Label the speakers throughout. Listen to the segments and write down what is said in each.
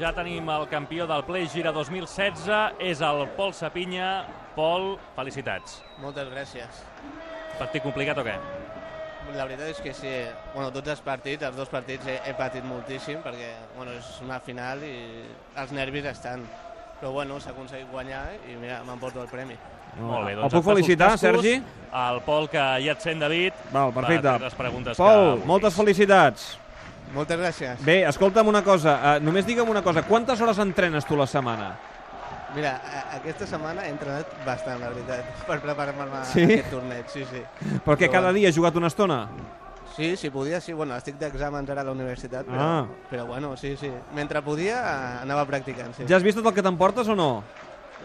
Speaker 1: Ja tenim el campió del Play Gira 2016, és el Pol Sapinya. Pol, felicitats.
Speaker 2: Moltes gràcies.
Speaker 1: Partit complicat o què?
Speaker 2: La veritat és que sí, eh. bueno, tots els partits, els dos partits he, he patit moltíssim perquè bueno, és una final i els nervis estan. Però bueno, s'ha aconseguit guanyar i mira, m'emporto el premi.
Speaker 1: Molt bé,
Speaker 3: El
Speaker 1: doncs
Speaker 3: puc
Speaker 1: els tassos-
Speaker 3: felicitar,
Speaker 1: tassos,
Speaker 3: Sergi?
Speaker 1: El Pol, que ja et sent, David.
Speaker 3: Val, perfecte.
Speaker 1: Per les preguntes que
Speaker 3: Pol,
Speaker 1: vulguis.
Speaker 3: moltes felicitats.
Speaker 2: Moltes gràcies.
Speaker 3: Bé, escolta'm una cosa, eh, només digue'm una cosa, quantes hores entrenes tu la setmana?
Speaker 2: Mira, a- aquesta setmana he entrenat bastant, la veritat, per preparar-me
Speaker 3: Sí?
Speaker 2: sí? aquest torneig. Sí, sí.
Speaker 3: Perquè cada dia has jugat una estona?
Speaker 2: Sí, si podia, sí. Bueno, estic d'exàmens ara a la universitat, però,
Speaker 3: Ah.
Speaker 2: però bueno, sí, sí. Mentre podia, eh, anava practicant, sí.
Speaker 3: Ja has vist tot el que t'emportes o no?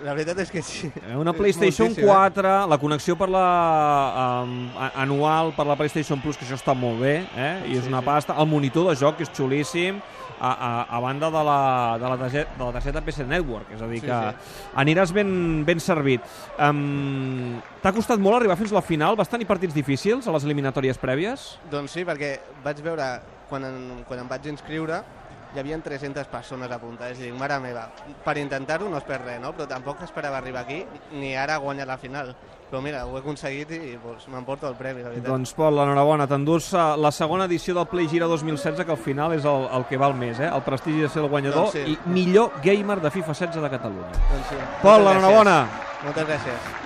Speaker 2: La veritat és que sí.
Speaker 3: Eh, Una PlayStation
Speaker 2: Moltíssim, eh?
Speaker 3: 4, la connexió per la, um, anual per la PlayStation Plus, que això està molt bé, eh? i és
Speaker 2: Sí,
Speaker 3: una
Speaker 2: sí.
Speaker 3: pasta. El monitor de joc, que és xulíssim, a, a, a banda de la, de, la targeta, de la targeta PC Network, és a dir
Speaker 2: Sí,
Speaker 3: que aniràs ben, ben servit. Um, T'ha costat molt arribar fins a la final? Vas tenir partits difícils a les eliminatòries prèvies?
Speaker 2: Doncs sí, perquè vaig veure, quan em, quan em vaig inscriure, hi havia 300 persones apuntades i dic, mare meva, per intentar-ho no es perd res, no? Però tampoc esperava arribar aquí, ni ara guanyar la final. Però mira, ho he aconseguit i doncs, m'emporto el premi, la veritat.
Speaker 3: Doncs Pol, enhorabona, t'endús eh, la segona edició del Play Gira 2016, que al final és el, el que val més, eh? el prestigi de ser el guanyador
Speaker 2: Doncs sí.
Speaker 3: i millor gamer de FIFA 16 de Catalunya.
Speaker 2: Doncs sí,
Speaker 3: Pol,
Speaker 2: moltes gràcies.
Speaker 3: enhorabona.
Speaker 2: Moltes gràcies.